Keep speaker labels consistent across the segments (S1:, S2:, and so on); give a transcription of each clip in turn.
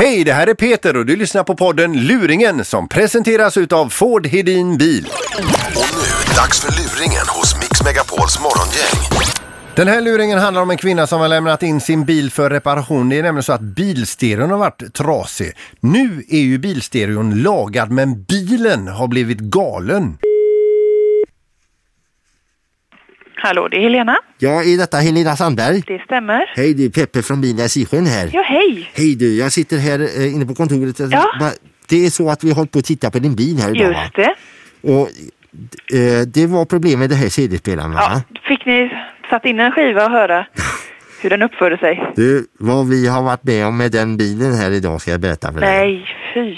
S1: Hej, det här är Peter och du lyssnar på podden Luringen som presenteras utav Ford Hedin Bil.
S2: Och nu, dags för luringen hos Mix Megapols morgongäng.
S1: Den här luringen handlar om en kvinna som har lämnat in sin bil för reparation. Det är nämligen så att bilstereon har varit trasig. Nu är ju bilstereon lagad men bilen har blivit galen.
S3: Hallå, det är Helena.
S4: Ja, är detta Helena Sandberg?
S3: Det stämmer.
S4: Hej, det är Peppe från Bilnäs i Sjön här.
S3: Ja, hej!
S4: Hej du, jag sitter här eh, inne på kontoret.
S3: Ja.
S4: Va- Det är så att vi har hållit på att titta på din bil här idag. va?
S3: Just det.
S4: Och eh, det var problem med det här CD-spelaren va?
S3: Ja, fick ni satt in en skiva och höra hur den uppförde sig?
S4: Du, vad vi har varit med om med den bilen här idag ska jag berätta för dig.
S3: Nej, fy.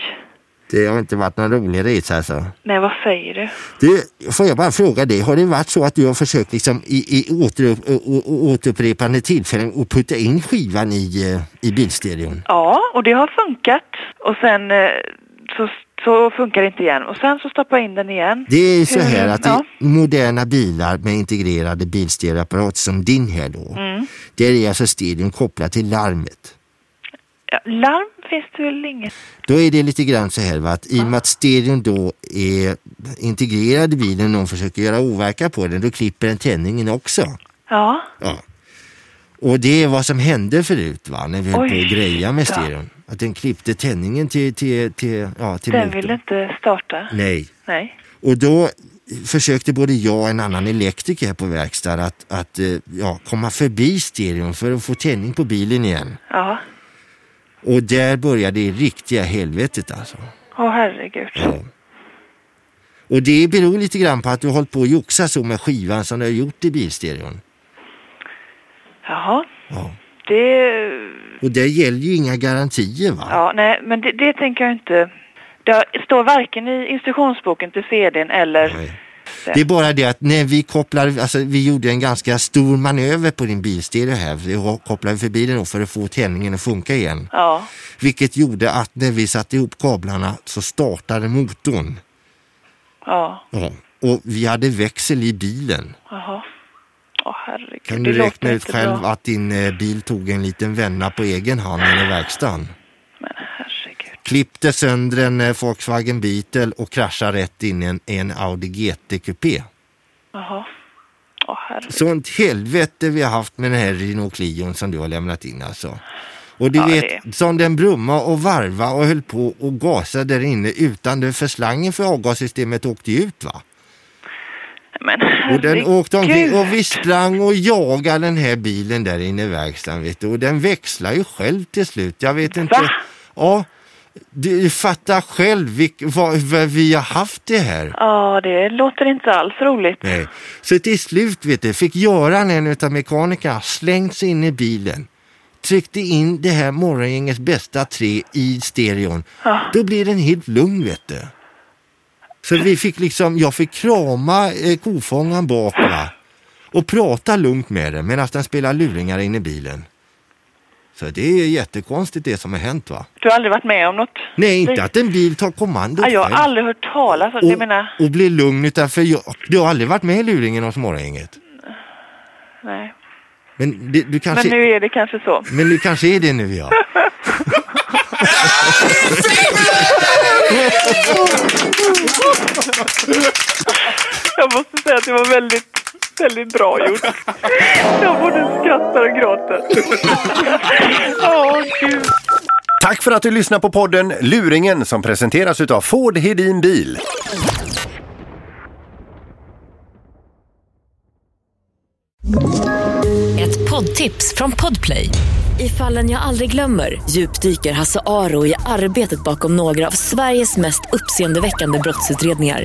S4: Det har inte varit någon rolig resa alltså.
S3: Nej, vad säger du?
S4: Du, får jag bara fråga dig, har det varit så att du har försökt liksom i, i åter, å, å, å- återupprepande tillfällen att putta in skivan i, eh, i bilstereon?
S3: Ja, och det har funkat. Och sen eh, så, så funkar det inte igen. Och sen så stoppar jag in den igen.
S4: Det är så
S3: Hur-
S4: här att
S3: Mm, ja.
S4: i moderna bilar med integrerade bilstereoapparater som din här då,
S3: Mm.
S4: där är alltså stereon kopplad till larmet.
S3: Ja, larm finns det väl inget?
S4: Då är det lite grann så här va, att i och med att stereon då är integrerad i bilen och någon försöker göra overka på den, då klipper den tändningen också.
S3: Ja,
S4: Ja. Och det är vad som hände förut va, när vi höll
S3: Oj,
S4: på att greja med
S3: ja.
S4: stereon. Att den klippte tändningen till, till, till, ja, till
S3: den
S4: motorn.
S3: vill inte starta.
S4: Nej.
S3: Nej.
S4: Och då försökte både jag och en annan elektriker här på verkstad att, att eh, ja, komma förbi stereon för att få tändning på bilen igen.
S3: Ja,
S4: Och där började det riktiga helvetet alltså.
S3: åh herregud.
S4: Ja. Och det beror lite grann på att du har hållit på att joxa så med skivan som du har gjort i bilstereon.
S3: Jaha,
S4: Ja.
S3: det
S4: Och där gäller ju inga garantier va?
S3: Ja, nej, men det, det tänker jag inte. Det står varken i instruktionsboken till CDn eller...
S4: Nej.
S3: Det.
S4: Det är bara det att när vi kopplar, alltså vi gjorde en ganska stor manöver på din bilstereo här. Vi kopplade förbi den då för att få tändningen att funka igen.
S3: Ja,
S4: Vilket gjorde att när vi satte ihop kablarna så startade motorn.
S3: ja,
S4: Ja. Och vi hade växel i bilen.
S3: jaha. Åh herregud,
S4: Kan
S3: det
S4: du räkna
S3: låter
S4: ut
S3: inte
S4: själv
S3: bra.
S4: att din eh, bil tog en liten vända på egen hand i verkstaden?
S3: Men herregud.
S4: Klippte sönder en eh, Volkswagen Beetle och kraschade rätt in i en, i en Audi GT-kupé.
S3: Jaha. Åh herregud.
S4: Sånt helvete vi har haft med den här Renault Clion som du har lämnat in alltså. Och du
S3: Ja,
S4: vet,
S3: det-
S4: som den brumma och varva och höll på och gasa där inne utan det för slangen för avgassystemet åkte ju ut va?
S3: Men
S4: Och den
S3: herregud.
S4: åkte omkring och vi sprang och jagade den här bilen där inne i verkstaden vet du. Och den växlar ju själv till slut. Jag vet inte.
S3: Va?
S4: Ja, du fattar själv vilk, vad, vad vi har haft det här.
S3: Ja, det låter inte alls roligt.
S4: Nej. Så till slut vet du, fick Göran, en utav mekanikerna, slängt sig in i bilen. Tryckte in det här morgongängets bästa tre i stereon. Då blir den helt lugn vet du. Så vi fick liksom, jag fick krama eh, kofångaren bak va. Och prata lugnt med den medan den spelar luringar in i bilen. Så det är jättekonstigt det som har hänt va.
S3: Du har aldrig varit med om något?
S4: Nej, inte
S3: lik-
S4: att en bil tar kommandot.
S3: Ja, jag har
S4: själv
S3: aldrig hört talas om det. Jag menar,
S4: och, och blir lugn utan för jag, du har aldrig varit med i luringen hos morgongänget.
S3: nej.
S4: Men det, du
S3: Men
S4: kanske...
S3: nu är det kanske så.
S4: Men du kanske är det nu ja.
S3: Jag måste säga att det var väldigt, väldigt bra gjort. Jag både skrattar och gråter. Åh, gud.
S1: Tack för att du lyssnar på podden Luringen som presenteras utav Ford Hedin Bil.
S5: Ett poddtips från Podplay. I fallen jag aldrig glömmer djupdyker Hasse Aro i arbetet bakom några av Sveriges mest uppseendeväckande brottsutredningar.